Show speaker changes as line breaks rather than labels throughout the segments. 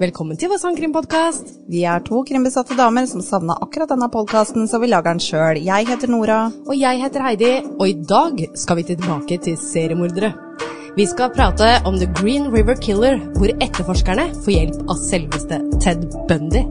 Velkommen til vår sangkrimpodkast.
Vi er to krimbesatte damer som savna akkurat denne podkasten, så vi lager den sjøl. Jeg heter Nora.
Og jeg heter Heidi, og i dag skal vi tilbake til seriemordere. Vi skal prate om The Green River Killer, hvor etterforskerne får hjelp av selveste Ted Bundy.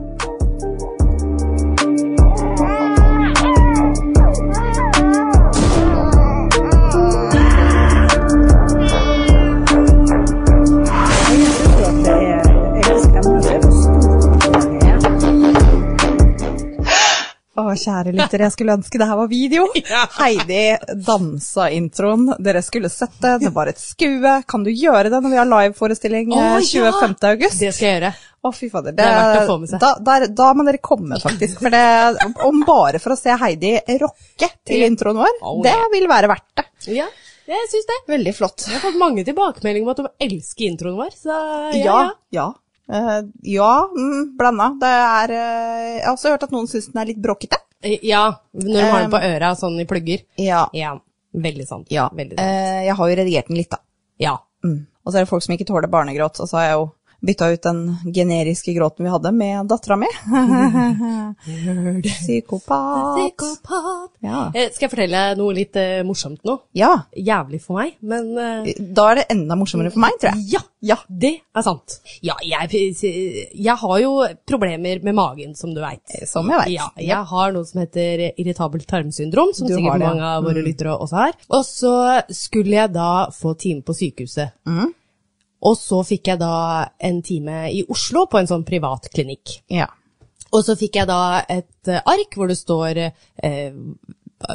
Å, kjære lyttere, jeg skulle ønske det her var video. Heidi dansa introen. Dere skulle sett det. Det var et skue. Kan du gjøre det når vi har liveforestilling eh,
Å, ja!
25. august?
Det skal jeg gjøre.
Å, fy fader.
Det er verdt å få med seg.
Da, der, da må dere komme, faktisk. For det, om bare for å se Heidi rocke til introen vår,
Oh,
det
yeah.
vil være verdt det.
Ja, jeg syns det.
Veldig flott.
Jeg har fått mange tilbakemeldinger om at de elsker introen vår, så ja. ja.
Ja, ja. Eh, ja, mm, blanda. Det er eh, Jeg har også hørt at noen syns den er litt bråkete.
Eh, ja når de har den på øra, sånn i plugger.
Ja.
Ja, veldig sant.
ja.
Veldig sant.
Eh, jeg har jo redigert den litt, da.
Ja.
Mm. Og så er det folk som ikke tåler barnegråt, og så har jeg jo bytta ut den generiske gråten vi hadde med dattera mi. Psykopat.
Psykopat.
Ja.
Eh, Skal jeg fortelle noe litt eh, morsomt nå?
ja.
Jævlig for meg, men eh,
Da er det enda morsommere for meg, tror jeg.
ja, ja, det er sant. Ja, jeg, jeg har jo problemer med magen, som du veit.
Som jeg vet.
Ja, jeg har noe som heter irritabelt tarmsyndrom, som
Du har
sikkert
det, ja.
mange av våre lyttere også har. Og så skulle jeg da få time på sykehuset. Og så fikk jeg da en time i Oslo på en sånn privat klinikk.
Ja.
Og så fikk jeg da et eh, ark hvor det står eh,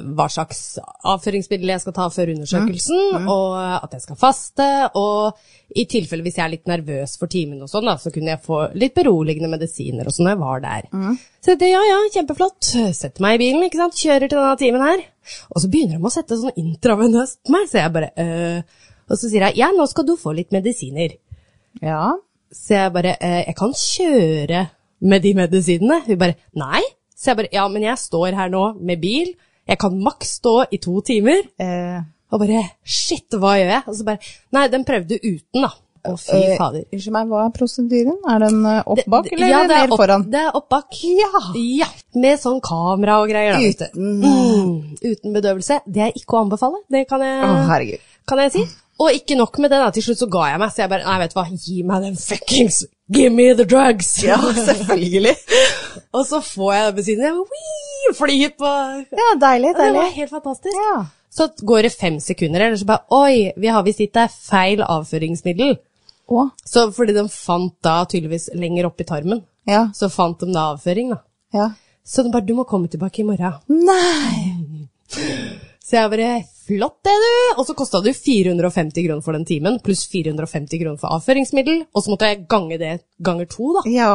hva slags avføringsmiddel jeg skal ta før undersøkelsen, og at jeg skal faste. Og i tilfelle hvis jeg er litt nervøs for timen og sånn, da, så kunne jeg få litt beroligende medisiner og sånn når jeg var der. Så det, ja, ja, kjempeflott. Setter meg i bilen, ikke sant, kjører til denne timen her. Og så begynner de å sette sånn intravenøst på meg, så jeg bare øh. Og så sier jeg ja, nå skal du få litt medisiner.
ja.
Så jeg bare, eh, jeg kan kjøre med de medisinene. Hun bare, nei. Så jeg bare, ja, men jeg står her nå med bil. Jeg kan maks stå i to timer.
Eh,
Og bare, shit, hva gjør jeg? Og så bare, nei, den prøvde uten da. Å fy
eh,
fader.
Unnskyld meg, hva er prosedyren? Er den eh, opp bak,
Det-
eller
ja, det er
ned
opp-
foran?
Det er opp bak.
Ja.
Ja, med sånn kamera og greier. da, vet du.
Uten.
Mm, uten bedøvelse. Det er ikke å anbefale. Det kan jeg...
Å, herregud.
kan jeg si. Og ikke nok med det, da. til slutt så ga jeg meg. Så jeg bare Nei, vet du hva, gi meg den fuckings Give me the drugs!
Ja, selvfølgelig.
og så får jeg den medisinen. Jeg flyr på
Ja, deilig,
Det
deilig.
var helt fantastisk.
Ja.
Så går det fem sekunder, eller så bare Oi, vi har visst gitt deg feil avføringsmiddel.
Å,
Så fordi de fant da tydeligvis lenger opp i tarmen,
ja,
så fant de da avføring, da.
ja.
Så de bare Du må komme tilbake i morgen.
Nei!
Så jeg bare Flott det, du! Og så kosta det jo 450 kroner for den timen, pluss 450 kroner for avføringsmiddel. Og så måtte jeg gange det ganger to, da.
Ja.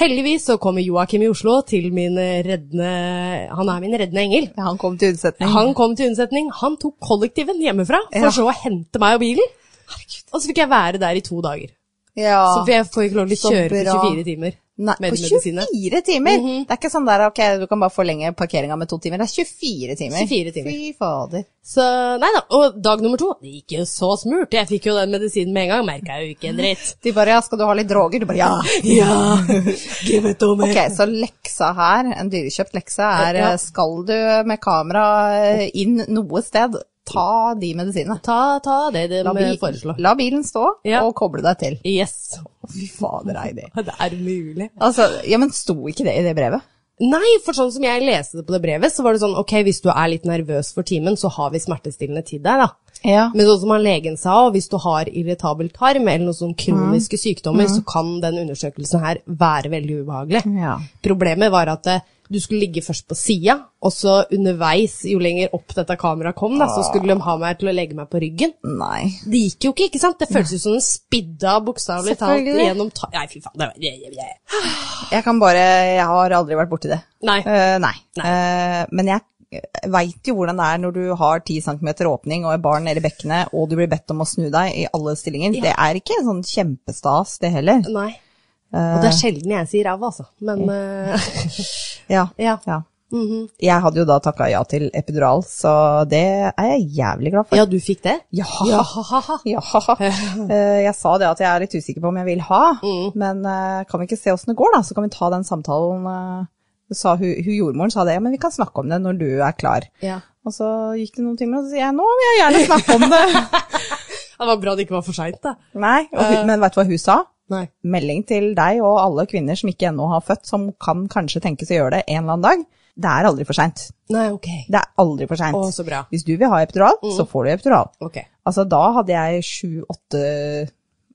Heldigvis så kommer Joakim i Oslo til min reddende Han er min reddende engel.
Ja, Han kom til unnsetning.
Han kom til unnsetning. Han tok kollektiven hjemmefra for
Ja.
så å hente meg og bilen. Og så fikk jeg være der i to dager.
ja.
Så jeg får ikke lov til
Ah, Så
å kjøre på
bra.
24 timer
Nei,
med
på
de medisinene.
24 timer!
Mhm.
Det er ikke sånn der ok, du kan bare forlenge parkeringa med to timer. Det er 24 timer.
24 timer.
Fy fader.
Så nei da. Og dag nummer to, det gikk jo så smurt. Jeg fikk jo den medisinen med en gang. Merka jo ikke en dritt.
De bare ja, skal du ha litt droger? Du bare ja.
Ja, give it to me.
Ok, så leksa her, en dyrekjøpt lekse, er
Ja.
eh, skal du med kamera eh, inn noe sted, ta de medisinene.
Ta, ta det de
La, bil,
foreslår.
la bilen stå,
Ja.
og koble deg til.
Yes.
Fy fader, Heidi.
Det er mulig.
Altså, ja, men sto ikke det i det brevet?
Nei, for sånn som jeg leste det på det brevet, så var det sånn, ok, hvis du er litt nervøs for timen, så har vi smertestillende til deg, da.
Ja.
Men sånn som han legen sa, og hvis du har irritabel tarm eller noen sånne kroniske sykdommer, så kan den undersøkelsen her være veldig ubehagelig.
Ja.
Problemet var at eh, du skulle ligge først på sida, og så underveis, jo lenger opp dette kameraet kom, da, så skulle de ha meg til å legge meg på ryggen.
Nei.
Det gikk jo ikke, ikke sant? Det føltes ut som den spidda bokstavelig talt
Selvfølgelig.
gjennom ta... Nei, fy faen. Det var... jeg- jeg- jeg-
Jeg kan bare Jeg har aldri vært borti det.
Nei.
Eh, nei. Eh, men jeg veit jo hvordan det er når du har 10 cm åpning og et barn nede i bekkenet, og du blir bedt om å snu deg i alle stillinger. Det er ikke en sånn kjempestas, det heller.
Nei. Og det er sjelden jeg sier ræva, altså. Men eh,
Ja. Mhm.
ja.
Jeg hadde jo da takka ja til epidural, så det er jeg jævlig glad for.
Ja, du fikk det?
Ja.
Ja.
Ja. Eh, Jeg sa det at jeg er litt usikker på om jeg vil ha,
Mm.
men eh, kan vi ikke se åssen det går, da? Så kan vi ta den samtalen. eh, Sa hun, hun jordmoren sa det, ja, men vi kan snakke om det når du er klar.
Ja.
Og så gikk det noen timer, og så sier jeg nå vil jeg gjerne snakke om det.
Det var bra det ikke var for seint, da.
Nei, og
Eh.
hun, men vet du hva hun sa?
Nei.
melding til deg og alle kvinner som ikke ennå har født, som kan kanskje tenkes å gjøre det en eller annen dag. Det er aldri for seint.
Nei, ok.
Det er aldri for seint.
Å, så bra. Mm.
Hvis du vil ha epidural, så får du epidural.
Ok.
Altså, da hadde jeg sju-åtte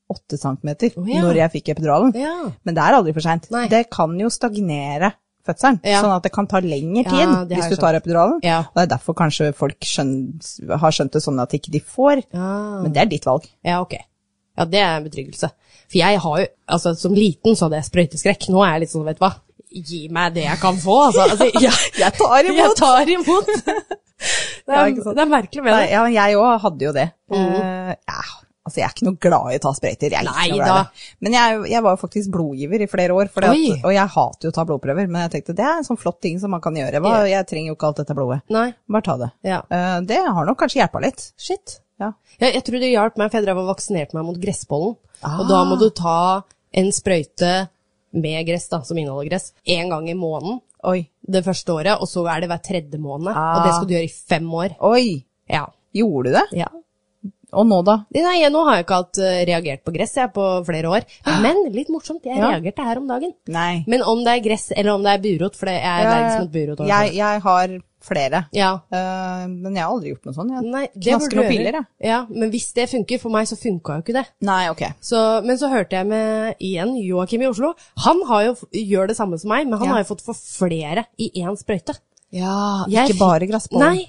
åtte centimeter
Å, ja.
når jeg fikk epiduralen.
Ja.
Men det er aldri for seint.
Nei.
Det kan jo stagnere fødselen,
Ja.
sånn at det kan ta lengre tid
Ja, det har
hvis
jeg
du tar epiduralen.
Ja.
Og det er derfor kanskje folk skjøn- har skjønt det sånn at ikke de får.
Ah.
Men det er ditt valg.
Ja, ok. Ja, det er en betryggelse. For jeg har jo, altså som liten så hadde jeg sprøyteskrekk. Nå er jeg litt sånn, vet du hva, gi meg det jeg kan få, altså. altså ja,
Jeg tar imot.
Jeg tar imot. Det
Ja,
er,
ikke sant.
det er merkelig med
Nei,
det.
ja, men jeg òg hadde jo det.
Mm.
Eh, ja, altså jeg er ikke noe glad i å ta sprøyter. Jeg er ikke
Nei
noe glad i
da.
det. Men jeg, jeg var jo faktisk blodgiver i flere år, fordi
Oi.
at, og jeg hater jo å ta blodprøver. Men jeg tenkte det er en sånn flott ting som man kan gjøre. Hva, jeg trenger jo ikke alt dette blodet.
Nei.
Bare ta det.
Mm. Ja.
Eh, det har nok kanskje hjelpa litt.
Shit.
Ja.
Jeg, jeg tror det hjalp meg, for jeg drev og vaksinerte meg mot gresspollen. Og da må
Ah.
du ta en sprøyte med gress, da, som inneholder gress, én gang i måneden
Oi.
det første året, og så er det hver tredje måned.
Ah.
Og det skal du gjøre i fem år.
Oi.
Ja.
Gjorde du det?
ja.
Og nå, da?
Nei, nå har jeg ikke hatt eh, reagert på gress jeg på flere år. Men litt morsomt, jeg
Ah. Ja.
reagerte her om dagen.
Nei. Eh,
Men om det er gress eller om det er burot, for det er sånn verdens mot burot. også.
jeg, jeg har flere.
Ja.
Eh, men jeg har aldri gjort noe sånt. Jeg
Nei, det
knasker
burde
noen
du
piller,
gjøre.
jeg.
Ja, men hvis det funker, for meg så funka jo ikke det.
Nei, ok.
Så, men så hørte jeg med igjen Joakim i Oslo. Han har jo, gjør det samme som meg, men han
Ja.
har jo fått for flere i én sprøyte.
Ja,
Jeg
ikke bare gressbollen.
Nei,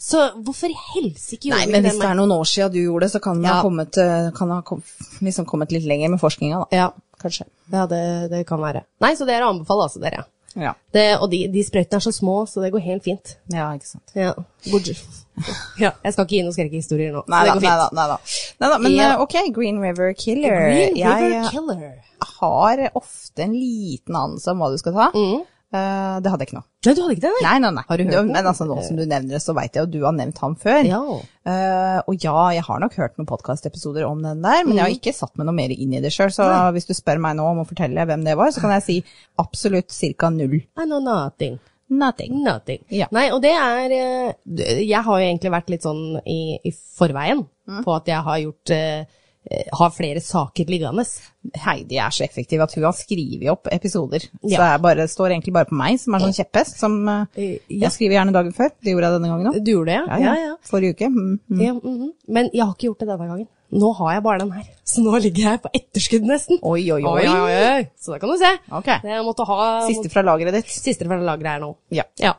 så hvorfor i helsike gjorde
Nei,
vi
men
det
hvis det
med-
er noen år siden du gjorde det, så kan man
Ja.
ha kommet, eh, kan ha kom, liksom kommet litt lenger med forskninga, da.
Ja,
Kanskje.
ja det, det kan være. Nei, så dere anbefaler altså dere.
Ja.
Det, og de, de sprøytene er så små, så det går helt fint.
ja, ikke sant.
Ja. God. ja. Jeg skal ikke gi noen skrekkehistorier nå. så
Nei
det
da,
går
nei da.
fint.
Nei da. Nei da men
Ja.
eh, ok, Green River Killer.
Green River
jeg eh,
Killer.
har ofte en liten anelse om hva du skal ta. Eh, det hadde jeg ikke nå.
Nei, du hadde ikke det, nei?
Nei, nei, nei.
Mm. Har du hørt
Det-
den?
Men altså, nå som du nevner det, så veit jeg jo du har nevnt ham før.
Ja.
Eh, og ja, jeg har nok hørt noen podkastepisoder om den der, men jeg
Mm.
har ikke satt meg noe mer inn i det sjøl. Så hvis du spør meg nå om å fortelle hvem det var, så kan jeg si absolutt ca. null.
I know nothing.
Nothing.
Nothing.
Ja.
Nei, og det er eh, Jeg har jo egentlig vært litt sånn i, i forveien
Mm.
på at jeg har gjort eh, eh, har flere saker liggende.
Heidi er så effektiv at hun har skrevet opp episoder. Så
Ja.
det er bare, står egentlig bare på meg, som er sånn kjepphest, som eh,
Eh, ja.
jeg skriver gjerne dagen før. Det gjorde jeg denne gangen òg.
Du gjorde det, ja?
Forrige uke. Mm. mm.
Ja, mhm. Men jeg har ikke gjort det denne gangen. Nå har jeg bare den her. Så nå ligger jeg på etterskudd nesten.
Oi, oi, oi.
Oi, oi, oi. Så da kan du se.
Ok.
Jeg måtte ha
Siste fra lageret ditt.
Siste fra lageret her nå.
Ja.
Ja.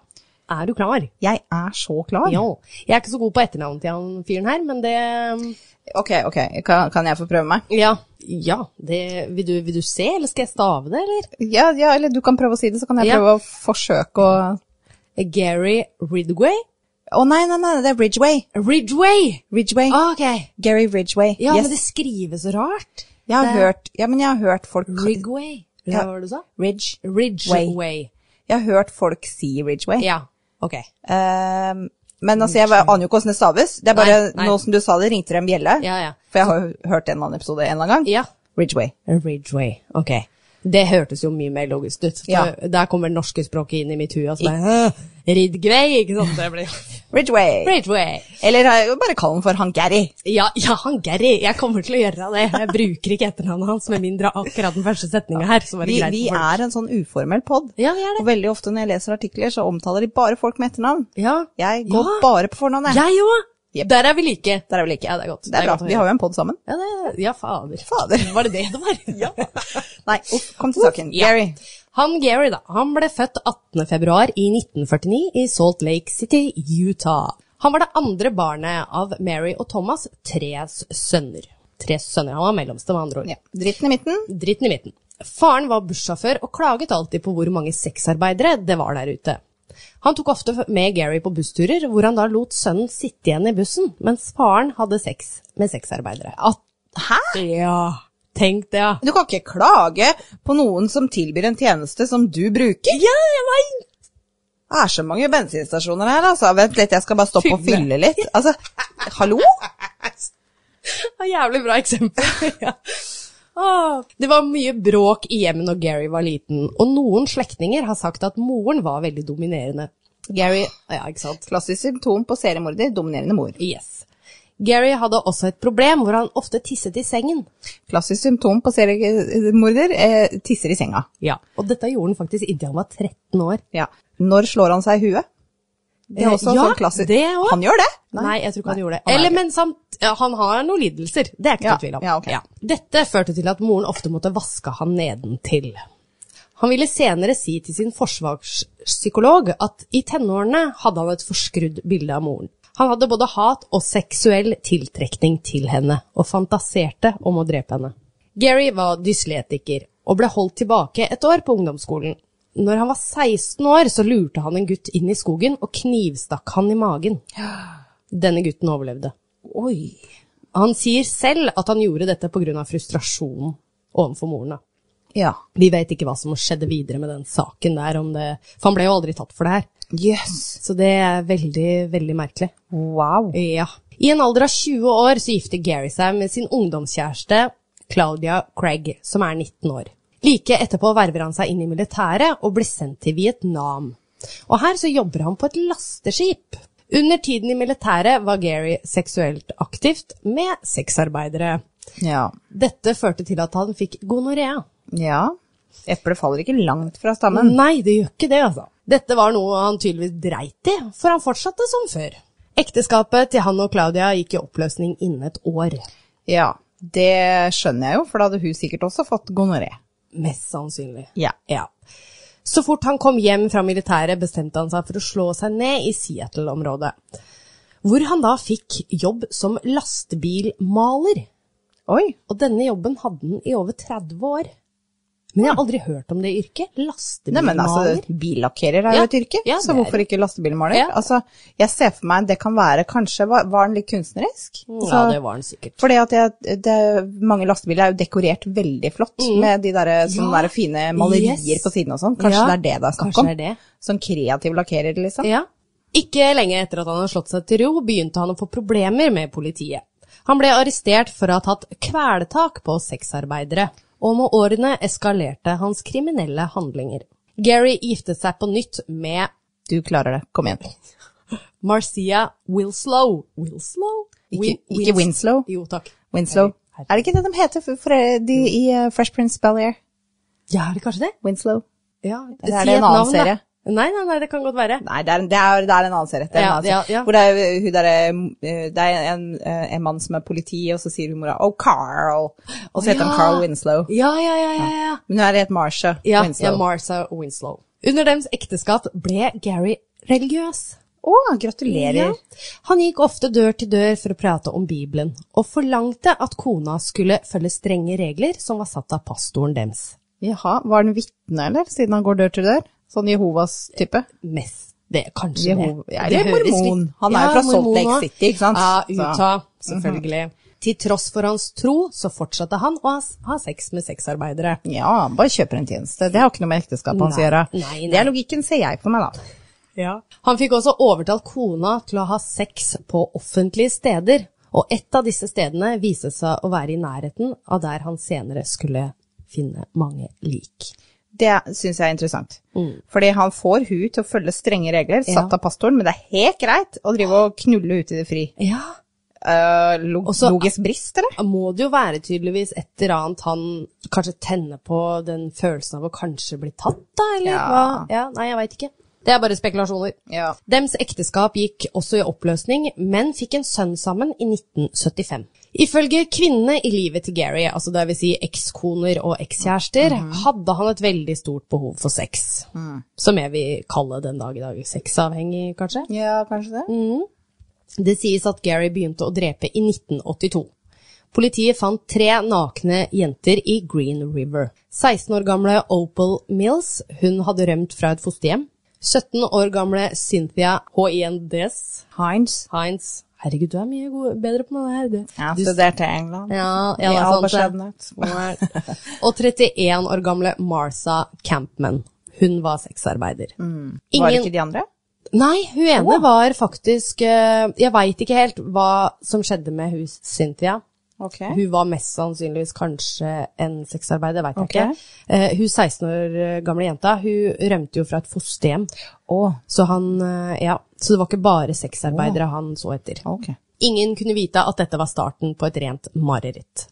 Er du klar?
Jeg er så klar.
Ja. Jeg er ikke så god på etternavnet til han fyren her, men det
Ok, ok. Kan, kan jeg få prøve meg?
Ja. ja det, vil, du, vil du se, eller skal jeg stave det, eller?
Ja, ja, eller du kan prøve å si det, så kan jeg
Ja.
prøve å forsøke å
Gary Ridway?
Å nei, nei, nei, det er Ridgeway.
Ridway!
Ridgeway.
Ok.
Gary Ridgeway.
Ah. Ja,
yes.
men det skrives så rart.
jeg har hørt, ja, men jeg har hørt folk
Rigway. Hva
Ja.
var det du sa?
Ridge.
Ridgeway.
Jeg har hørt folk si Ridgeway.
Ja. Ok.
Ehm, men altså, jeg aner jo ikke hvordan det staves. Det er bare,
Nei, nei.
nå som du sa det, ringte det en bjelle.
Ja, ja.
For jeg har jo hørt en eller annen episode en eller annen gang.
Ja.
Ridgeway.
Ridgeway. Ok. Det hørtes jo mye mer logisk ut. For
Ja.
Der kommer det norske språket inn i mitt hue. Altså, bare, «Hæ? Ridgway, ikke sant? Det blir
Ridgeway.
Ridgeway.
Eller eh, bare kall den for han Gary.
Ja, ja, han Gary. Jeg kommer til å gjøre det. Jeg bruker ikke etternavnet hans med mindre akkurat den første setninga her. Så var
Vi,
det greit
vi
for folk.
er en sånn uformell pod.
Ja, vi er det.
Og veldig ofte når jeg leser artikler, så omtaler de bare folk med etternavn.
Ja.
Jeg går
Ja.
bare på fornavnet.
Jeg òg!
Jep.
Der er vi like.
Der er vi like.
Ja, det er godt.
Det er bra.
godt å
Vi
høre.
har jo en pod sammen.
ja, det, ja, fader.
Fader.
Var det det det var?
Nei, uff, kom til saken.
Ja.
Gary.
Han Gary, da. Han ble født 18. februar i 1949 i Salt Lake City, Utah. Han var det andre barnet av Mary og Thomas, tre sønner. Tre sønner. Han var mellomste, med andre ord.
Ja. Dritten i midten.
Dritten i midten. Faren var bussjåfør og klaget alltid på hvor mange sexarbeidere det var der ute. Han tok ofte med Gary på bussturer, hvor han da lot sønnen sitte igjen i bussen, mens faren hadde sex med sexarbeidere.
At, hæ?
Ja, tenk det, ja.
Du kan ikke klage på noen som tilbyr en tjeneste som du bruker.
Ja, jeg veit!
Det er så mange bensinstasjoner her, altså. Vent litt, jeg skal bare stoppe og
Fylle.
fylle litt. Altså, hallo?
Det var jævlig bra eksempel. ja. Åh, Det var mye bråk i hjemmet når Gary var liten, og noen slektninger har sagt at moren var veldig dominerende. Gary Ja, ikke sant?
Klassisk symptom på seriemorder, dominerende mor.
Yes. Gary hadde også et problem hvor han ofte tisset i sengen.
Klassisk symptom på seriemorder, eh, tisser i senga.
Ja. Og dette gjorde han faktisk inntil han var 13 år.
Ja. Når slår han seg i huet? Det er
Eh,
også
ja,
sånn klassisk.
det også.
Han gjør det?
Nei, jeg tror ikke han gjorde det.
Nei.
Eller, men samt, ja, han har noen lidelser, det er ikke
Ja,
noe tvil om.
ja, ok.
Dette førte til at moren ofte måtte vaske han nedentil. Han ville senere si til sin forsvarspsykolog at i tenårene hadde han et forskrudd bilde av moren. Han hadde både hat og seksuell tiltrekning til henne, og fantaserte om å drepe henne. Gary var dysletiker, og ble holdt tilbake et år på ungdomsskolen. Når han var 16 år, så lurte han en gutt inn i skogen og knivstakk han i magen. Denne gutten overlevde.
Oi.
Han sier selv at han gjorde dette pga. frustrasjon overfor moren. da.
Ja.
Vi vet ikke hva som skjedde videre med den saken der, om det, for han ble jo aldri tatt for det her.
Jøss. Yes.
Så det er veldig, veldig merkelig.
Wow.
Ja. I en alder av 20 år så gifter Gary seg med sin ungdomskjæreste Claudia Craig, som er 19 år. Like etterpå verver han seg inn i militæret og blir sendt til Vietnam. Og her så jobber han på et lasteskip. Under tiden i militæret var Gary seksuelt aktivt med sexarbeidere.
Ja.
Dette førte til at han fikk gonorea.
Ja. Eplet faller ikke langt fra stammen.
Nei, det gjør ikke det, altså. Dette var noe han tydeligvis dreit i, for han fortsatte som før. Ekteskapet til han og Claudia gikk i oppløsning innen et år.
Ja. Det skjønner jeg jo, for da hadde hun sikkert også fått gonoré.
Mest sannsynlig.
Ja.
Så fort han kom hjem fra militæret, bestemte han seg for å slå seg ned i Seattle-området. Hvor han da fikk jobb som lastebilmaler.
Oi.
Og denne jobben hadde han i over 30 år. Men jeg har aldri hørt om det yrket.
Nei,
Lastebilmaler.
men altså, billakkerer er
Ja.
jo et yrke,
Ja,
så
det er
hvorfor ikke lastebilmaler?
Ja.
Altså, jeg ser for meg det kan være kanskje Var, var den litt kunstnerisk?
ja,
Så-
det var han sikkert.
Fordi at jeg, det, mange lastebiler er jo dekorert veldig flott med de der, sånne der fine malerier
Mm. Yes.
på siden og sånn.
Ja.
Kanskje det er det det er snakk
Kanskje
om?
det er det.
Sånn kreativ lakkerer, liksom.
Ja. Ikke lenge etter at han hadde slått seg til ro, begynte han å få problemer med politiet. Han ble arrestert for å ha tatt kvelertak på sexarbeidere, og med årene eskalerte hans kriminelle handlinger. Gary giftet seg på nytt med
Du klarer det, kom igjen.
Marcia Wilslow. Wilslow?
Ikke, ikke Winslow.
Jo, takk.
Winslow.
Herregud.
Er det ikke det de heter for, for de i eh, Fresh Prince Bel-Air?
Ja, er det kanskje det?
Winslow?
Ja,
Eller er
si
det
et
en annen
navn, da.
serie?
Nei, nei, nei, det kan godt være.
Nei, det er, en- det er, det er en annen serie. Det er, en
Ja,
annen serie.
ja, ja.
Hvor det er, eh, hun der, eh, det er en, eh, en mann som er politi, og så sier hun mora 'Oh, Carl', og så heter han
Ja.
Carl Winslow.
Ja, ja, ja, ja, ja.
Men hun er helt Marsha
Ja, ja
Winslow.
Marcia Winslow. Under deres ekteskap ble Gary religiøs.
Å, gratulerer.
Ja. Han gikk ofte dør til dør for å prate om Bibelen, og forlangte at kona skulle følge strenge regler som var satt av pastoren dems.
Jaha, var han vitne, eller? Siden han går dør til dør? Sånn Jehovas-type?
Mest det, kanskje
Jehova-
det.
Ja,
Det
eller
høres
mormon.
litt-
Han er jo fra Salt
mormon
Lake
også.
City, ikke sant?
Ja,
Så- Mhm.
Utah, selvfølgelig. Til tross for hans tro, så fortsatte han å ha- ha sex med sexarbeidere.
Ja, bare kjøper en tjeneste. Det har ikke noe med ekteskapet hans å
Nei,
gjøre.
nei, nei.
Det er logikken, ser jeg for meg, da.
Han fikk også overtalt kona til å ha sex på offentlige steder, og et av disse stedene viste seg å være i nærheten av der han senere skulle finne mange lik.
Det syns jeg er interessant.
Mm.
Fordi han får hun til å følge strenge regler, satt av pastoren, men det er helt greit å drive og knulle ute i det fri.
Ja.
Eh, lo
Også-
logisk brist, eller?
Må det jo være tydeligvis et eller annet han kanskje tenner på den følelsen av å kanskje bli tatt, da, eller
Ja.
hva? Ja, nei, jeg veit ikke. Det er bare spekulasjoner.
Ja.
Dems ekteskap gikk også i oppløsning, men fikk en sønn sammen i 1975. Ifølge kvinnene i livet til Gary, altså det vil si ekskoner og ekskjærester, hadde han et veldig stort behov for sex. Som jeg vil kalle den dag i dag sexavhengig, kanskje.
ja, kanskje det.
Mm. Det sies at Gary begynte å drepe i 1982. Politiet fant tre nakne jenter i Green River. 16 år gamle Opal Mills, hun hadde rømt fra et fosterhjem. 17 år gamle Cynthia H.I.N.D.S.
Heinz.
Hines. Herregud, du er mye god, bedre på noe her, du.
Jeg studerte i England.
Ja, altså,
I all
ja, det er sant det.
beskjedenhet.
Og 31 år gamle Martha Campman. Hun var sexarbeider.
Mm. Var det ikke de andre?
Nei, hun ene var faktisk eh, Jeg veit ikke helt hva som skjedde med hun Cynthia.
Ok.
Hun var mest sannsynligvis kanskje en sexarbeider, veit jeg
Ok.
ikke. Eh, hun 16 år eh, gamle jenta, hun rømte jo fra et fosterhjem.
Å,
Så han, eh, ja. Så det var ikke bare sexarbeidere han så etter.
ok.
Ingen kunne vite at dette var starten på et rent mareritt.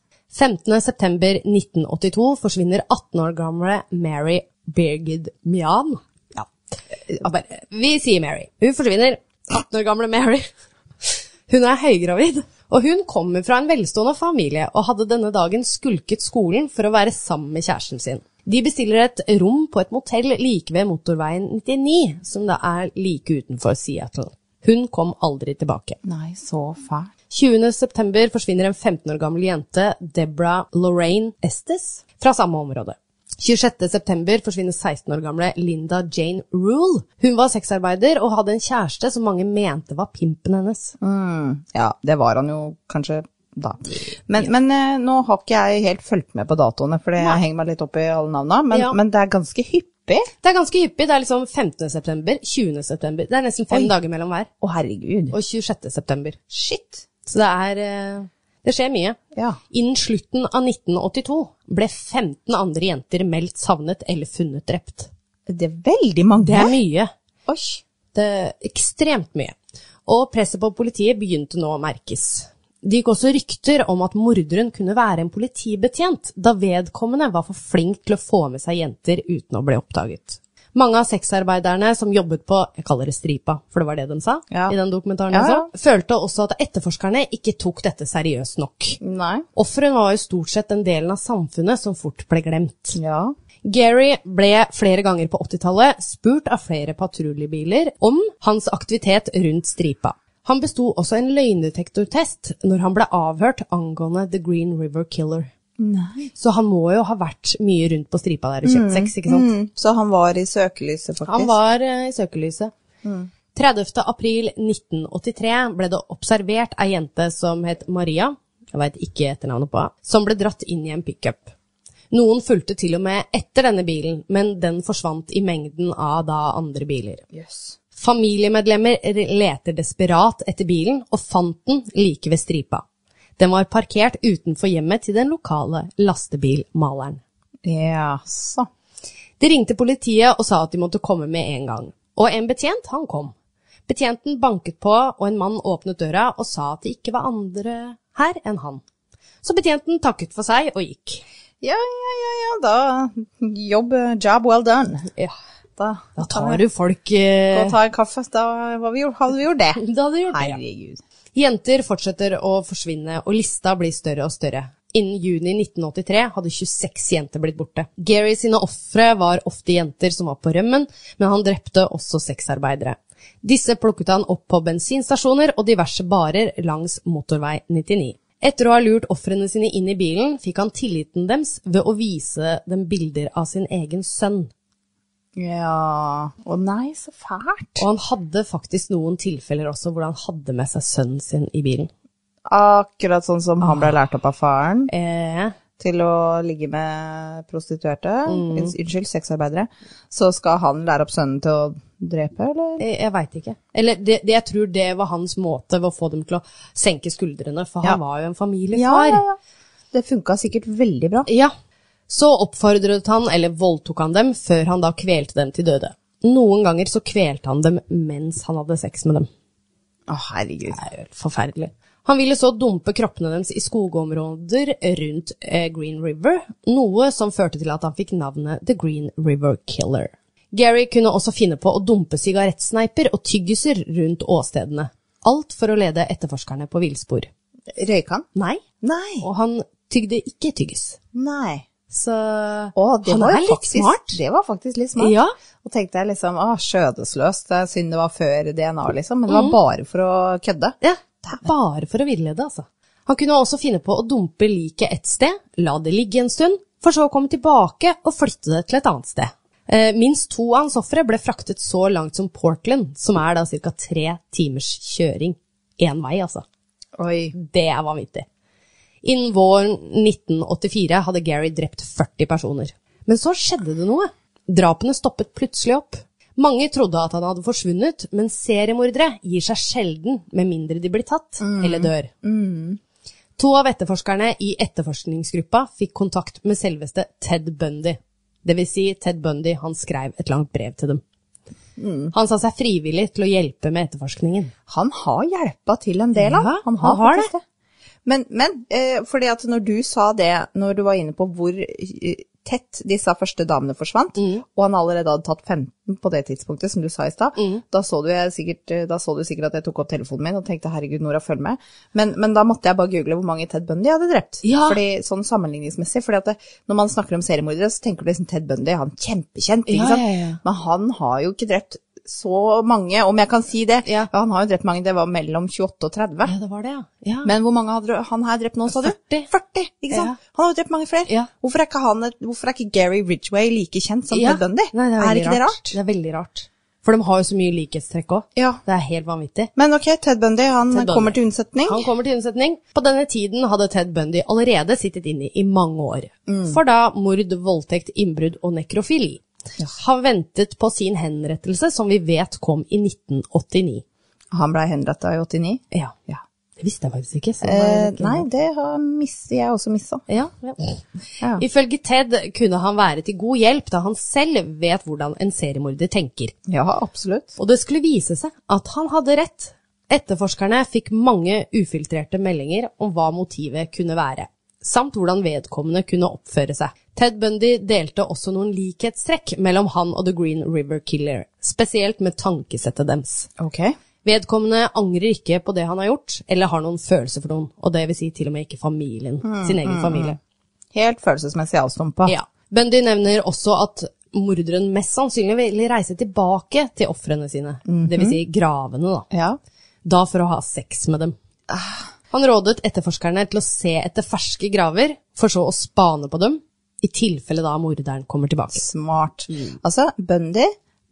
15.9.1982 forsvinner 18 år gamle Mary Birgid Mian. Ja, Eh, bare, vi sier Mary. Hun forsvinner. 18 år gamle Mary. Hun er høygravid, og hun kommer fra en velstående familie og hadde denne dagen skulket skolen for å være sammen med kjæresten sin. De bestiller et rom på et motell like ved motorveien 99, som da er like utenfor Seattle. Hun kom aldri tilbake.
Nei, så fælt.
20. september forsvinner en 15 år gammel jente, Deborah Lorraine Estes, fra samme område. 26. september forsvinner 16 år gamle Linda Jane Rule. Hun var sexarbeider og hadde en kjæreste som mange mente var pimpen hennes.
Mm, ja, det var han jo kanskje da. Men, men eh, nå har ikke jeg helt fulgt med på datoene, for jeg henger meg litt opp i alle navna, men,
Ja.
men det er ganske hyppig.
Det er ganske hyppig. Det er liksom 15. september, 20. september. Det er nesten fem dager mellom hver.
Å, herregud.
Og 26. september.
Shit.
Så det er eh, Det skjer mye.
Ja.
Innen slutten av 1982 ble 15 andre jenter meldt savnet eller funnet drept.
Det er veldig mange.
Det er mye.
Oi.
det ekstremt mye. Og presset på politiet begynte nå å merkes. Det gikk også rykter om at morderen kunne være en politibetjent, da vedkommende var for flink til å få med seg jenter uten å bli oppdaget. Mange av sexarbeiderne som jobbet på jeg kaller det stripa, for det var det de sa
Ja.
i den dokumentaren,
Ja, ja.
altså, følte også at etterforskerne ikke tok dette seriøst nok.
Nei.
Offeren var jo stort sett den delen av samfunnet som fort ble glemt.
Ja.
Gary ble flere ganger på 80-tallet spurt av flere patruljebiler om hans aktivitet rundt stripa. Han besto også en løgndetektortest når han ble avhørt angående The Green River Killer.
Nei.
Så han må jo ha vært mye rundt på stripa der og kjøpt sex, ikke sant?
Mm, så han var i søkelyset, faktisk.
Han var eh, i søkelyset. 30. april 1983 ble det observert ei jente som het Maria, jeg veit ikke etternavnet på, henne, som ble dratt inn i en pickup. Noen fulgte til og med etter denne bilen, men den forsvant i mengden av da andre biler.
Jøss.
Familiemedlemmer re- leter desperat etter bilen og fant den like ved stripa. Den var parkert utenfor hjemmet til den lokale lastebilmaleren.
Jaså.
De ringte politiet og sa at de måtte komme med en gang. Og en betjent, han kom. Betjenten banket på, og en mann åpnet døra og sa at det ikke var andre her enn han. Så betjenten takket for seg og gikk.
Ja, ja, ja, ja, da jobb, job well done. Da,
Da tar du folk eh,
Gå og ta en kaffe, da var vi, gjort- hadde vi gjort det.
Da hadde du gjort det.
Herregud.
Jenter fortsetter å forsvinne, og lista blir større og større. Innen juni 1983 hadde 26 jenter blitt borte. Gary sine ofre var ofte jenter som var på rømmen, men han drepte også sexarbeidere. Disse plukket han opp på bensinstasjoner og diverse barer langs motorvei 99. Etter å ha lurt ofrene sine inn i bilen, fikk han tilliten deres ved å vise dem bilder av sin egen sønn.
Ja Å nei, så fælt.
Og han hadde faktisk noen tilfeller også hvor han hadde med seg sønnen sin i bilen.
Akkurat sånn som han ble lært opp av faren
Eh,
til å ligge med prostituerte, unns- unnskyld, sexarbeidere, så skal han lære opp sønnen til å drepe, eller?
Jeg, jeg veit ikke. Eller det, det, jeg tror det var hans måte ved å få dem til å senke skuldrene, for
Ja.
han var jo en familiefar. Ja,
Det funka sikkert veldig bra.
Så oppfordret han, eller voldtok han dem, før han da kvelte dem til døde. Noen ganger så kvelte han dem mens han hadde sex med dem.
Å, herregud.
Det er jo helt forferdelig. Han ville så dumpe kroppene deres i skogområder rundt eh, Green River, noe som førte til at han fikk navnet The Green River Killer. Gary kunne også finne på å dumpe sigarettsneiper og tyggiser rundt åstedene. Alt for å lede etterforskerne på villspor.
Røyka han?
Nei,
Nei.
og han tygde ikke tyggis.
Nei.
Så
Å, det
han
var
er
jo
litt
faktisk,
smart.
Det var faktisk litt smart.
Ja.
Og tenkte jeg liksom, ah, skjødesløst, det er synd det var før DNA liksom, men det
Mm.
var bare for å kødde.
Ja, det er bare for å villede, altså. Han kunne også finne på å dumpe liket et sted, la det ligge en stund, for så å komme tilbake og flytte det til et annet sted. Eh, Minst to av hans ofre ble fraktet så langt som Portland, som er da ca. tre timers kjøring. Én vei, altså.
Oi.
Det er vanvittig. Innen våren 1984 hadde Gary drept 40 personer. Men så skjedde det noe. Drapene stoppet plutselig opp. Mange trodde at han hadde forsvunnet, men seriemordere gir seg sjelden med mindre de blir tatt eller dør. Mm. To av etterforskerne i etterforskningsgruppa fikk kontakt med selveste Ted Bundy. Det vil si, Ted Bundy han skrev et langt brev til dem. Han sa seg frivillig til å hjelpe med etterforskningen.
Han har hjelpa til en del, han.
Ja,
han har,
han har
faktisk det. Men, men eh, fordi at når du sa det, når du var inne på hvor eh, tett disse første damene forsvant,
Mm.
og han allerede hadde tatt 15 på det tidspunktet, som du sa i stad,
Mm.
da, så du jeg sikkert, eh, da så du sikkert at jeg tok opp telefonen min og tenkte herregud, Nora, følg med. Men, men da måtte jeg bare google hvor mange Ted Bundy hadde drept.
Ja.
Fordi, sånn sammenligningsmessig, fordi at det, når man snakker om seriemordere, så tenker du liksom Ted Bundy, han er kjempekjent, ikke
Ja,
sant?
ja, ja.
Men han har jo ikke drept så mange, om jeg kan si det.
Ja.
han har jo drept mange, det var mellom 28 og 30.
Ja, det var det, ja. ja.
Men hvor mange hadde han her drept nå, sa du?
40.
40, ikke sant?
Ja.
Han har jo drept mange flere.
Ja.
Hvorfor, er ikke han, et- hvorfor er ikke Gary Ridgway like kjent som
Ja.
Ted Bundy?
Nei, det er,
er
veldig
ikke det rart?
Det er veldig rart. For de har jo så mye likhetstrekk òg.
Ja.
Det er helt vanvittig.
Men ok, Ted Bundy, han
Ted Bundy.
kommer til unnsetning.
Han kommer til unnsetning. På denne tiden hadde Ted Bundy allerede sittet inne i mange år.
Mm.
For da mord, voldtekt, innbrudd og nekrofili. Han ventet på sin henrettelse, som vi vet kom i 1989.
Han ble henrettet i 89.
Ja.
Ja.
Det visste jeg faktisk ikke. Så det var
Eh,
litt
nei, det har miss- jeg også missa.
Ja, ja.
Ja.
Ifølge Ted kunne han være til god hjelp, da han selv vet hvordan en seriemorder tenker.
ja, absolutt.
Og det skulle vise seg at han hadde rett. Etterforskerne fikk mange ufiltrerte meldinger om hva motivet kunne være, samt hvordan vedkommende kunne oppføre seg. Ted Bundy delte også noen likhetstrekk mellom han og The Green River Killer, spesielt med tankesettet deres.
Ok.
Vedkommende angrer ikke på det han har gjort, eller har noen følelse for noen, og det vil si til og med ikke familien, sin egen familie.
Helt følelsesmessig avstumpa.
Ja. Bundy nevner også at morderen mest sannsynlig ville reise tilbake til ofrene sine, det vil si gravene, da.
Ja.
Da for å ha sex med dem. Han rådet etterforskerne til å se etter ferske graver, for så å spane på dem, i tilfelle da morderen kommer tilbake.
Smart. Altså, Bundy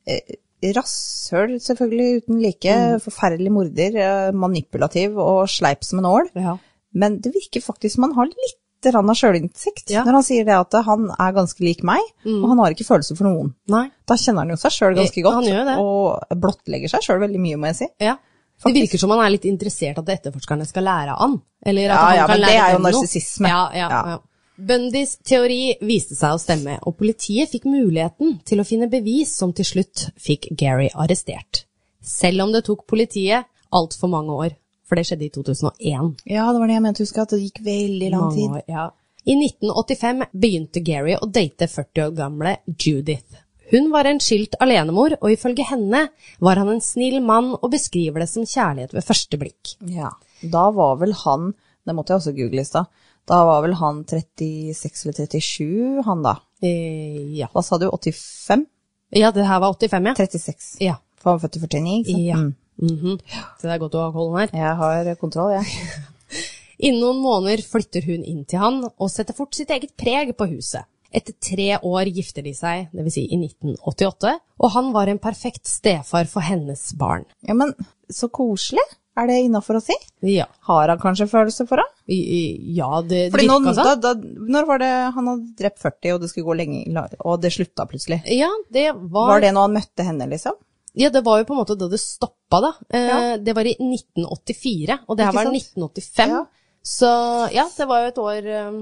eh, Rasshøl, selvfølgelig, uten like. Forferdelig morder. eh, Manipulativ og sleip som en ål.
Ja.
Men det virker faktisk som han har litt grann av sjølinnsikt
Ja.
når han sier det at han er ganske lik meg, og han har ikke følelser for noen.
Nei.
Da kjenner Mm. han jo seg sjøl ganske
Eh,
godt,
han gjør det.
og blottlegger seg sjøl veldig mye, må jeg si.
Ja. Det virker som han er litt interessert at etterforskerne skal lære av han. Eller at
Ja,
han
ja,
kan lære
men det er jo
dem noe.
narsissisme.
Ja, ja,
Ja.
ja. Bundys teori viste seg å stemme, og politiet fikk muligheten til å finne bevis som til slutt fikk Gary arrestert. Selv om det tok politiet altfor mange år, for det skjedde i 2001.
Ja, det var det jeg mente, husker jeg, at det gikk veldig lang
Mange
tid.
år, ja. I 1985 begynte Gary å date 40 år gamle Judith. Hun var en skilt alenemor, og ifølge henne var han en snill mann og beskriver det som kjærlighet ved første blikk.
Ja. Da var vel han, det måtte jeg også google i stad, da var vel han 36 eller 37, han da.
Eh, ja.
Hva sa du, 85?
ja, det her var 85, ja.
36.
Ja.
For han var født i 49, ikke sant?
ja.
Mm.
Mhm. Så det er godt å ha kollen her.
Jeg har kontroll, jeg.
Innen noen måneder flytter hun inn til han, og setter fort sitt eget preg på huset. Etter tre år gifter de seg, dvs. Si i 1988, og han var en perfekt stefar for hennes barn.
Ja, men så koselig. Er det innafor å si?
Ja,
Har han kanskje følelser for det?
I, i, ja det
Fordi nå,
virka sånn.
da, da, når var det han hadde drept 40, og det skulle gå lenge, la- og det slutta plutselig?
Ja, det var,
Var det når han møtte henne, liksom?
Ja, det var jo på en måte da det stoppa, da. Eh,
Ja.
Det var i 1984, og det
Ikke
her var
sant?
1985.
Ja.
Så ja, det var jo et år eh,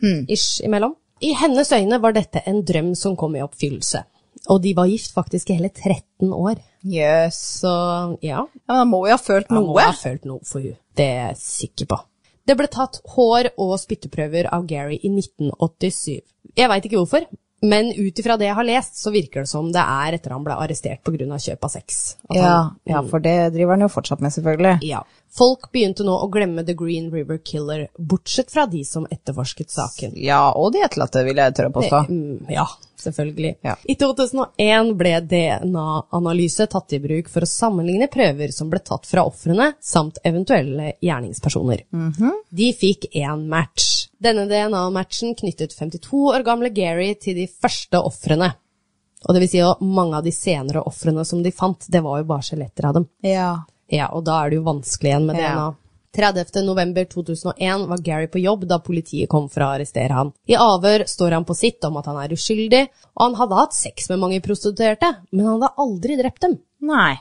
Hmm.
ish imellom. I hennes øyne var dette en drøm som kom i oppfyllelse. Og de var gift faktisk i hele 13 år.
Jøss.
Så ja,
Ja, men han må jo ha følt
han må
noe.
ha følt noe for henne. Det er jeg sikker på. Det ble tatt hår og spytteprøver av Gary i 1987. Jeg veit ikke hvorfor, men ut ifra det jeg har lest, så virker det som det er etter han ble arrestert pga. kjøp av sex. At
Ja,
han-
ja, for det driver han jo fortsatt med, selvfølgelig.
ja. Folk begynte nå å glemme The Green River Killer, bortsett fra de som etterforsket saken.
Ja, og de etterlatte, vil jeg tørre å påstå.
Mm, Ja, selvfølgelig.
Ja.
I 2001 ble DNA-analyse tatt i bruk for å sammenligne prøver som ble tatt fra ofrene, samt eventuelle gjerningspersoner. De fikk én match. Denne DNA-matchen knyttet 52 år gamle Gary til de første ofrene. Og det vil si at mange av de senere ofrene som de fant, det var jo bare skjeletter av dem.
Ja.
Ja, og da er det jo vanskelig igjen med
Ja.
DNA. 30. november 2001 var Gary på jobb da politiet kom for å arrestere han. I avhør står han på sitt om at han er uskyldig, og han hadde hatt sex med mange prostituerte, men han hadde aldri drept dem.
Nei.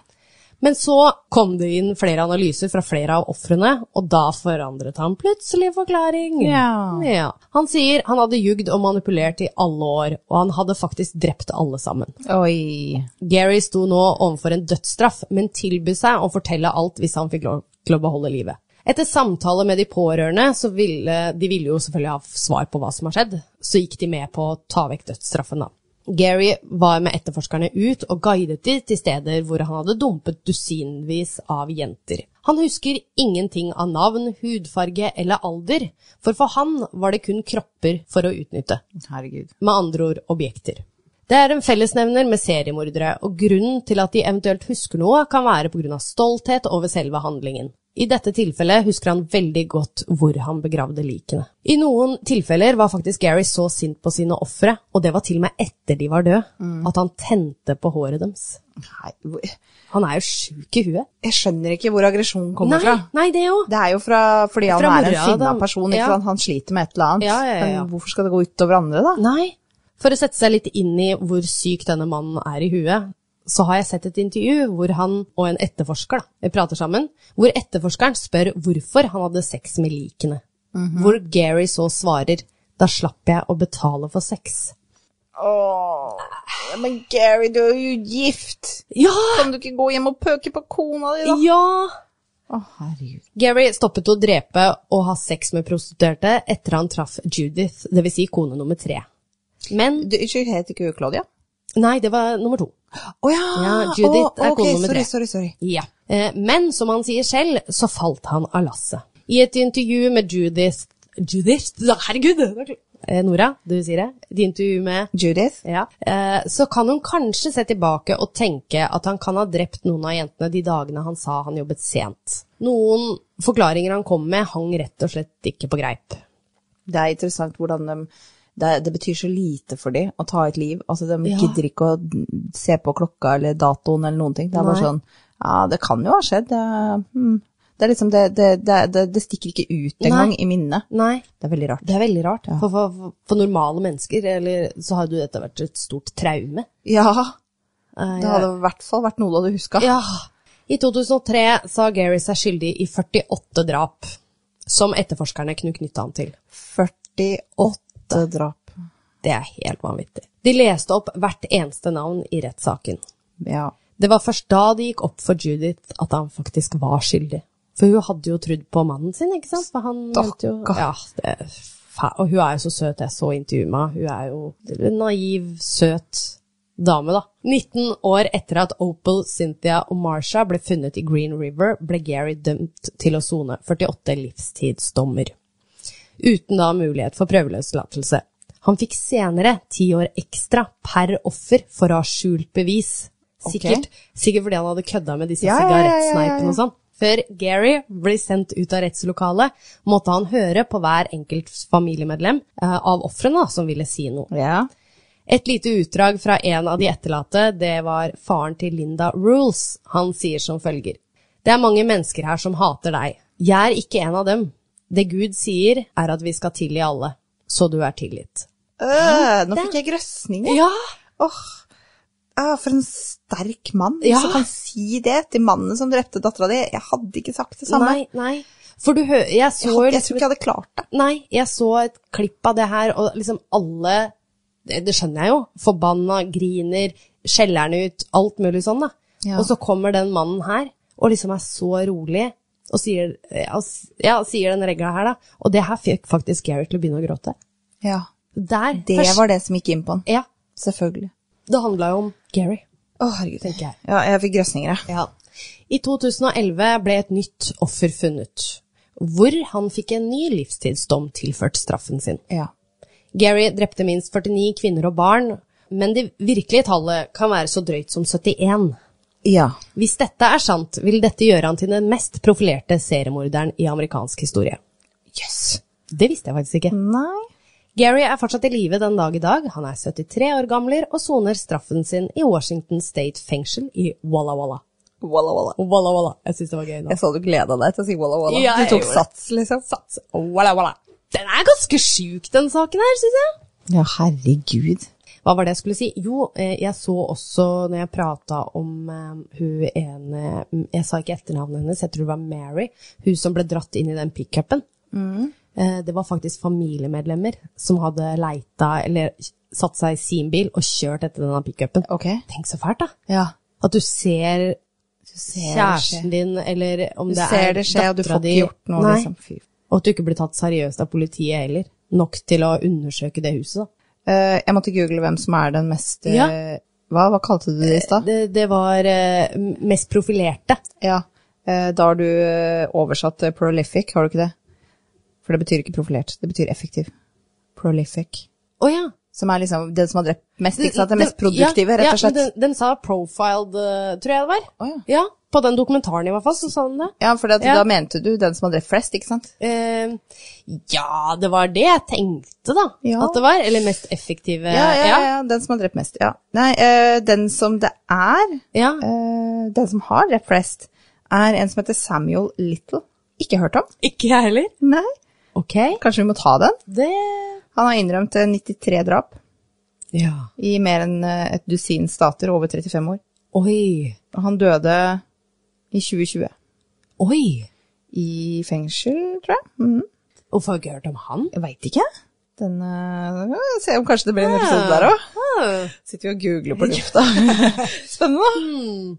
Men så kom det inn flere analyser fra flere av ofrene, og da forandret han plutselig forklaring.
Ja.
Ja. Han sier han hadde jugd og manipulert i alle år, og han hadde faktisk drept alle sammen.
Oi.
Gary sto nå overfor en dødsstraff, men tilbød seg å fortelle alt hvis han fikk lov til å beholde livet. Etter samtale med de pårørende, så ville de ville jo selvfølgelig ha svar på hva som har skjedd, så gikk de med på å ta vekk dødsstraffen, da. Gary var med etterforskerne ut og guidet de til steder hvor han hadde dumpet dusinvis av jenter. Han husker ingenting av navn, hudfarge eller alder, for for han var det kun kropper for å utnytte
Herregud.
med andre ord objekter. Det er en fellesnevner med seriemordere, og grunnen til at de eventuelt husker noe, kan være pga. stolthet over selve handlingen. I dette tilfellet husker han veldig godt hvor han begravde likene. I noen tilfeller var faktisk Gary så sint på sine ofre, og det var til og med etter de var døde, at han tente på håret deres.
Nei, hvor-
Han er jo sjuk i huet.
jeg skjønner ikke hvor aggresjonen kommer
Nei,
fra.
nei, det òg.
Det er jo fra, fordi han
Fra
er en
mora,
sinna
da.
person, ikke
Ja.
sant? han sliter med et eller annet.
Ja, ja, ja, ja.
Men hvorfor skal det gå utover andre da?
Nei. For å sette seg litt inn i hvor syk denne mannen er i huet, så har jeg sett et intervju hvor han og en etterforsker da, prater sammen, hvor etterforskeren spør hvorfor han hadde sex med likene. Hvor Gary så svarer, da slapp jeg å betale for sex.
Åh, men Gary, du er jo gift.
Ja!
Kan du ikke gå hjem og pøke på kona di da?
Ja!
Å, herregud.
Gary stoppet å drepe og ha sex med prostituerte etter han traff Judith, dvs. Si kone nummer tre. Men
Du, unnskyld, heter ikke hun Claudia?
Nei, det var nummer to.
Å ja!
Ja, Judith
Å,
er
ok,
kone nummer
sorry,
tre.
Sorry, sorry.
Ja. Eh, Men som han sier selv, så falt han av lasset. I et intervju med Judith Judith? Herregud! Eh, Nora, du sier det. Et intervju med
Judith?
ja. Eh, Så kan hun kanskje se tilbake og tenke at han kan ha drept noen av jentene de dagene han sa han jobbet sent. Noen forklaringer han kom med, hang rett og slett ikke på greip.
Det er interessant hvordan de det, det betyr så lite for dem å ta et liv. Altså, de
Ja.
gidder ikke å se på klokka eller datoen eller noen ting. Det er bare
Nei.
sånn Ja, det kan jo ha skjedd. Det, hmm. det er liksom det, det, det, det, det stikker ikke ut engang i minnet.
Nei.
Det er veldig rart.
Det er veldig rart. For, for, for normale mennesker eller, så hadde jo dette vært et stort traume.
Ja,
Eh,
det hadde i hvert fall vært noe du hadde huska.
Ja. I 2003 sa Gary seg skyldig i 48 drap, som etterforskerne kunne knytte han til.
48 drap.
Det er helt vanvittig. De leste opp hvert eneste navn i rettssaken.
Ja.
Det var først da det gikk opp for Judith at han faktisk var skyldig. For hun hadde jo trodd på mannen sin, ikke sant? For han mente jo,
Stakkar.
ja, det er fæ- og hun er jo så søt, jeg så intervjuet med henne. Hun er jo en naiv, søt dame, da. 19 år etter at Opal, Cynthia og Marsha ble funnet i Green River, ble Gary dømt til å sone 48 livstidsdommer. Uten da mulighet for prøveløslatelse. Han fikk senere ti år ekstra per offer for å ha skjult bevis.
Ok.
Sikkert Sikkert fordi han hadde kødda med disse
Ja, ja, ja, ja, ja, ja.
sigarettsneipene og sånn. Før Gary ble sendt ut av rettslokalet, måtte han høre på hver enkelt familiemedlem eh, av ofrene da, som ville si noe.
ja.
Et lite utdrag fra en av de etterlatte, det var faren til Linda Rules. Han sier som følger. Det er mange mennesker her som hater deg. Jeg er ikke en av dem. Det Gud sier, er at vi skal tilgi alle. Så du er tilgitt.
Øh, nå fikk jeg grøsninger.
Ja!
Åh, ah, for en sterk mann
Ja.
som kan si det til mannen som drepte dattera di. Jeg hadde ikke sagt det samme.
Nei, nei. For du hører Jeg så
Jeg,
jo
hadde, jeg
liksom
tror ikke jeg hadde klart det.
Nei, jeg så et klipp av det her, og liksom alle Det, det skjønner jeg jo. Forbanna, griner, skjeller han ut, alt mulig sånn, da.
Ja.
Og så kommer den mannen her og liksom er så rolig og sier, eh, ja, s- ja, sier den regla her, da. Og det her fikk faktisk Gary til å begynne å gråte.
Ja,
Der.
det
først-
var det som gikk inn på han.
Ja.
Selvfølgelig.
Det handla jo om Gary,
Å, herregud.
tenker jeg.
Ja, jeg fikk grøsninger, jeg.
Ja. I 2011 ble et nytt offer funnet, hvor han fikk en ny livstidsdom tilført straffen sin.
Ja.
Gary drepte minst 49 kvinner og barn, men det virkelige tallet kan være så drøyt som 71.
ja.
Hvis dette er sant, vil dette gjøre han til den mest profilerte seriemorderen i amerikansk historie.
Yes.
Det visste jeg faktisk ikke.
Nei.
Gary er fortsatt i live den dag i dag. Han er 73 år gamler og soner straffen sin i Washington State fengsel i Walla Walla.
Walla walla.
Walla, walla. Jeg syns det var gøy nå.
Jeg så du gleda deg til å si walla walla.
Ja, jeg
du tok
gjorde det.
sats, liksom.
Sats. Walla, walla. Den er ganske sjuk, den saken her, syns jeg.
Ja, herregud.
Hva var det jeg skulle si? Jo, eh, jeg så også når jeg prata om eh, hun ene mm, Jeg sa ikke etternavnet hennes, jeg tror det var Mary. Hun som ble dratt inn i den pickupen.
Mm.
Eh, Det var faktisk familiemedlemmer som hadde leita eller satt seg i sin bil og kjørt etter denne pickupen.
Ok.
Tenk så fælt, da.
Ja.
At du ser
ser det
kjæresten din, eller om
Du
det
ser
er
det skje, og du får
dattera di.
ikke gjort noe,
Nei.
liksom. Fy.
Og at du ikke blir tatt seriøst av politiet heller. Nok til å undersøke det huset, da.
Eh, jeg måtte google hvem som er den mest eh,
Ja.
hva, hva kalte du det i stad?
Det, det var eh, mest profilerte.
Ja. eh, da har du eh, oversatt eh, prolific, har du ikke det? For det betyr ikke profilert, det betyr effektiv. Prolific.
Å ja.
Som er liksom den som har drept mest, ikke sant? Den mest produktive, rett og slett.
Ja, den, den sa profiled, eh, tror jeg det var.
Å, ja.
ja, på den dokumentaren i hvert fall, så sa den det.
Ja, for
Ja.
da mente du den som har drept flest, ikke sant?
Eh, ja, det var det jeg tenkte, da.
Ja.
At det var. Eller mest effektive.
Ja, ja, ja,
ja.
Eh, den som har drept mest, ja. Nei, eh, den som det er,
ja.
eh, den som har drept flest, er en som heter Samuel Little. Ikke hørt om?
Ikke jeg heller.
Nei.
Ok.
Kanskje vi må ta den?
Det
Han har innrømt eh, 93 drap
Ja.
i mer enn eh, et dusin stater over 35 år.
Oi.
Og han døde i 2020.
Oi.
I fengsel, tror jeg. Mhm.
Hvorfor har jeg ikke hørt om han?
Jeg veit ikke. Den, eh, se om kanskje det blir en episode der òg. Sitter vi og googler på lufta. Spennende.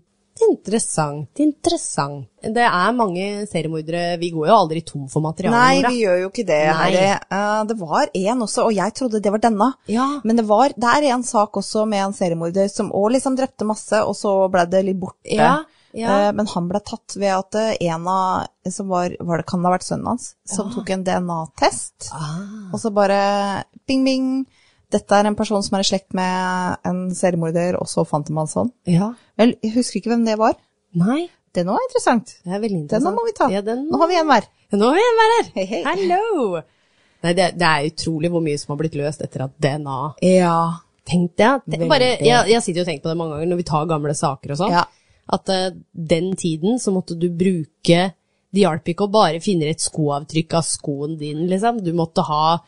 Interessant, interessant. Det er mange seriemordere. Vi går jo aldri tom for materiale.
Nei,
Nora.
vi gjør jo ikke det.
Nei.
Harry. Eh, det var en også, og jeg trodde det var denne.
Ja.
Men det, var, det er en sak også med en seriemorder som òg liksom drepte masse, og så ble det litt borte.
Ja, ja.
Eh, Men han ble tatt ved at eh, en av som var, var det, Kan det ha vært sønnen hans? Som
Ah.
tok en DNA-test. Og så bare bing, bing. Dette er en person som er i slekt med en seriemorder, og så fant de hans hånd.
ja.
Vel, jeg husker ikke hvem det var.
Nei,
Det nå er interessant.
det er veldig
Den nå
interessant.
må vi ta.
Ja, den...
Nå har vi en hver.
Nå har vi en hver her.
Hei, hei.
Hallo! Nei, det, det er utrolig hvor mye som har blitt løst etter at DNA
Ja.
Tenk det. at-
Veldig.
Bare, jeg, jeg sitter jo og tenker på det mange ganger når vi tar gamle saker og sånn.
Ja.
At eh, den tiden så måtte du bruke Det hjalp ikke å bare finne et skoavtrykk av skoen din, liksom. Du måtte ha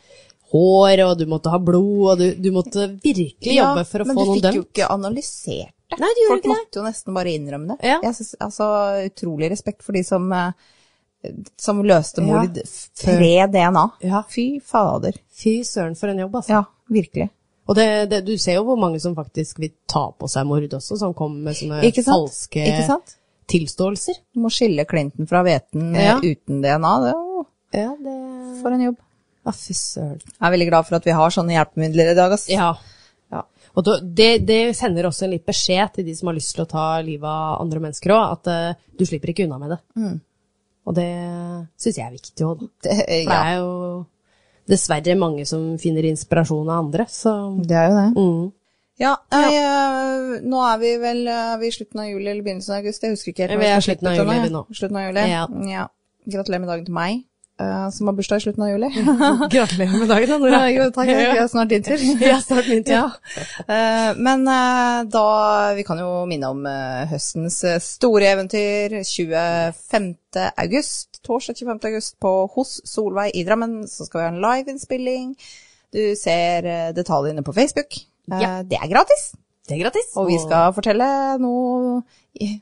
hår, og du måtte ha blod, og du, du måtte virkelig jobbe for å få noen
Men du fikk jo
dømt.
ikke analysert det.
Nei, du gjorde
Folk
ikke det.
måtte jo nesten bare innrømme det.
Ja.
Jeg synes, altså, utrolig respekt for de som, eh, som løste
Ja.
mord pre DNA.
Ja.
Fy fader.
Fy søren for en jobb, altså.
Ja, virkelig.
Og det, det, du ser jo hvor mange som faktisk vil ta på seg mord også, som kommer med sånne
Ikke sant?
falske
Ikke sant?
tilståelser.
Du må skille Clinton fra Veten eh,
Ja.
uten DNA. Det er jo
Ja, det
for en jobb.
Å, fy søren.
Jeg er veldig glad for at vi har sånne hjelpemidler i dag. ass.
Ja.
Ja.
Og da- det, det sender også en litt beskjed til de som har lyst til å ta livet av andre mennesker òg, at eh, du slipper ikke unna med det. Og det syns jeg er viktig òg, da.
Det, eh,
For det
ja.
er jo dessverre mange som finner inspirasjon av andre, så
det er jo det.
mm.
Ja, jeg, eh, nå er vi vel eh, er vi i slutten av juli eller begynnelsen av august. Jeg husker ikke helt. når
Vi er
skal
slutten av
slutte
juli,
denne.
vi nå.
Slutten av juli.
Ja.
Ja. Gratulerer med dagen til meg, eh, som har bursdag i slutten av juli.
Gratulerer med dagen, da,
Ja, jo, takk. Det er snart din tur.
Ja, snart min tur.
Ja. Eh, Men eh, da Vi kan jo minne om eh, høstens eh, store eventyr 25. august. Torsdag 25. august på Hos Solveig i Drammen, så skal vi ha en liveinnspilling. Du ser eh, detaljene på Facebook. Eh,
Ja.
Det er gratis.
Det er gratis.
Og vi skal fortelle noe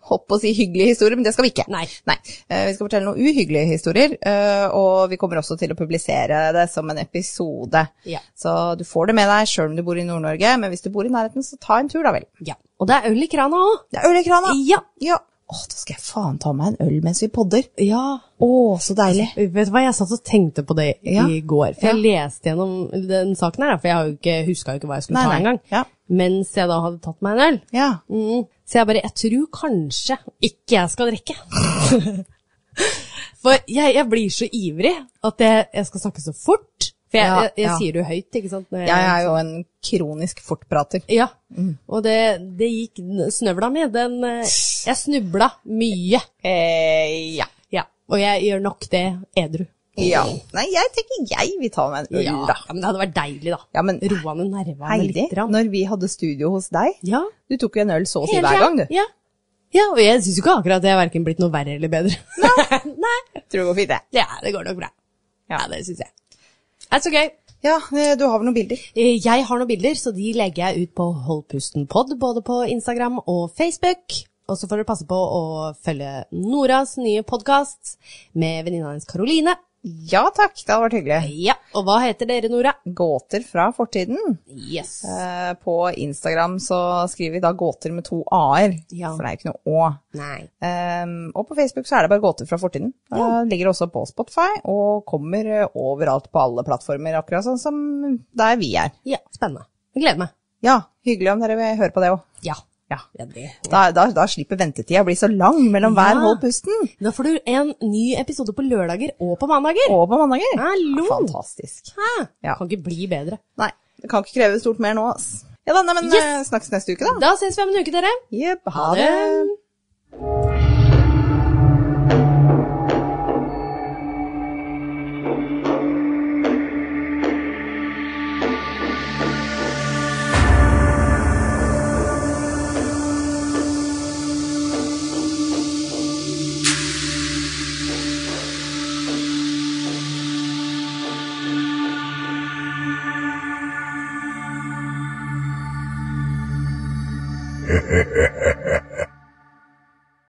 Holdt på å si hyggelige historier, men det skal vi ikke.
Nei.
Eh, Vi skal fortelle noen uhyggelige historier, eh, og vi kommer også til å publisere det som en episode.
Ja.
Så du får det med deg sjøl om du bor i Nord-Norge, men hvis du bor i nærheten, så ta en tur, da vel.
Ja. Og det er øl i krana òg.
Det er øl i krana!
Ja.
Ja. Å, da skal jeg faen ta meg en øl mens vi podder.
ja.
Å, så deilig.
Vet du hva, jeg satt og tenkte på det i
Ja.
går. For jeg leste gjennom den saken her, da, for jeg har jo ikke, huska jo ikke hva jeg skulle
Nei,
ta
nei.
engang.
Ja.
Mens jeg da hadde tatt meg en øl.
Ja.
Mm. Så jeg bare Jeg tror kanskje ikke jeg skal drikke. For jeg, jeg blir så ivrig at jeg, jeg skal snakke så fort. For jeg,
Ja,
jeg, jeg
ja.
sier det jo høyt, ikke sant. når jeg-
Jeg er jo en kronisk fortprater.
Ja, og det, det gikk snøvla mi. Den, eh, jeg snubla mye.
ja.
Eh, Ja, og jeg gjør nok det edru.
ja. Nei, jeg tenker jeg vil ta meg en øl,
Ja,
da.
ja, men det hadde vært deilig, da.
Ja, men
Roa ned nervene
Heidi,
litt. grann.
når vi hadde studio hos deg,
Ja,
du tok jo en øl så å si
hele
hver
tida.
gang, du.
Ja. Ja, og jeg syns jo ikke akkurat det er verken blitt noe verre eller bedre. Nei.
Tror det går fint, det.
Ja, det går nok bra. Ja, det syns jeg. That's okay.
Ja, eh, du har vel noen bilder?
Eh, Jeg har noen bilder, så de legger jeg ut på Holdpustenpod, både på Instagram og Facebook. Og så får dere passe på å følge Noras nye podkast med venninna hennes Karoline.
Ja takk, det hadde vært hyggelig.
Ja, og hva heter dere, Nora?
Gåter fra fortiden.
Yes.
Eh, På Instagram så skriver vi da gåter med to a-er,
Ja.
for det er jo ikke noe å.
Nei.
Ehm, og på Facebook så er det bare gåter fra fortiden. Eh, ligger også på Spotify og kommer eh, overalt på alle plattformer, akkurat sånn som der vi er.
Ja, spennende. Jeg gleder meg.
Ja, hyggelig om dere vil høre på det òg.
Ja.
Ja.
ja det.
Da, da, da slipper ventetida å bli så lang
Ja.
mellom hver hold pusten.
Da får du en ny episode på lørdager og på mandager.
Og på mandager.
Hallo!
Fantastisk.
Hæ?
Ja.
Kan ikke bli bedre.
Nei, det kan ikke kreve stort mer nå, ass. Ja da, nei, men
Yes.
eh, snakkes neste uke, da.
Da ses vi om en uke, dere.
Jepp, ha
Ha
det.
det.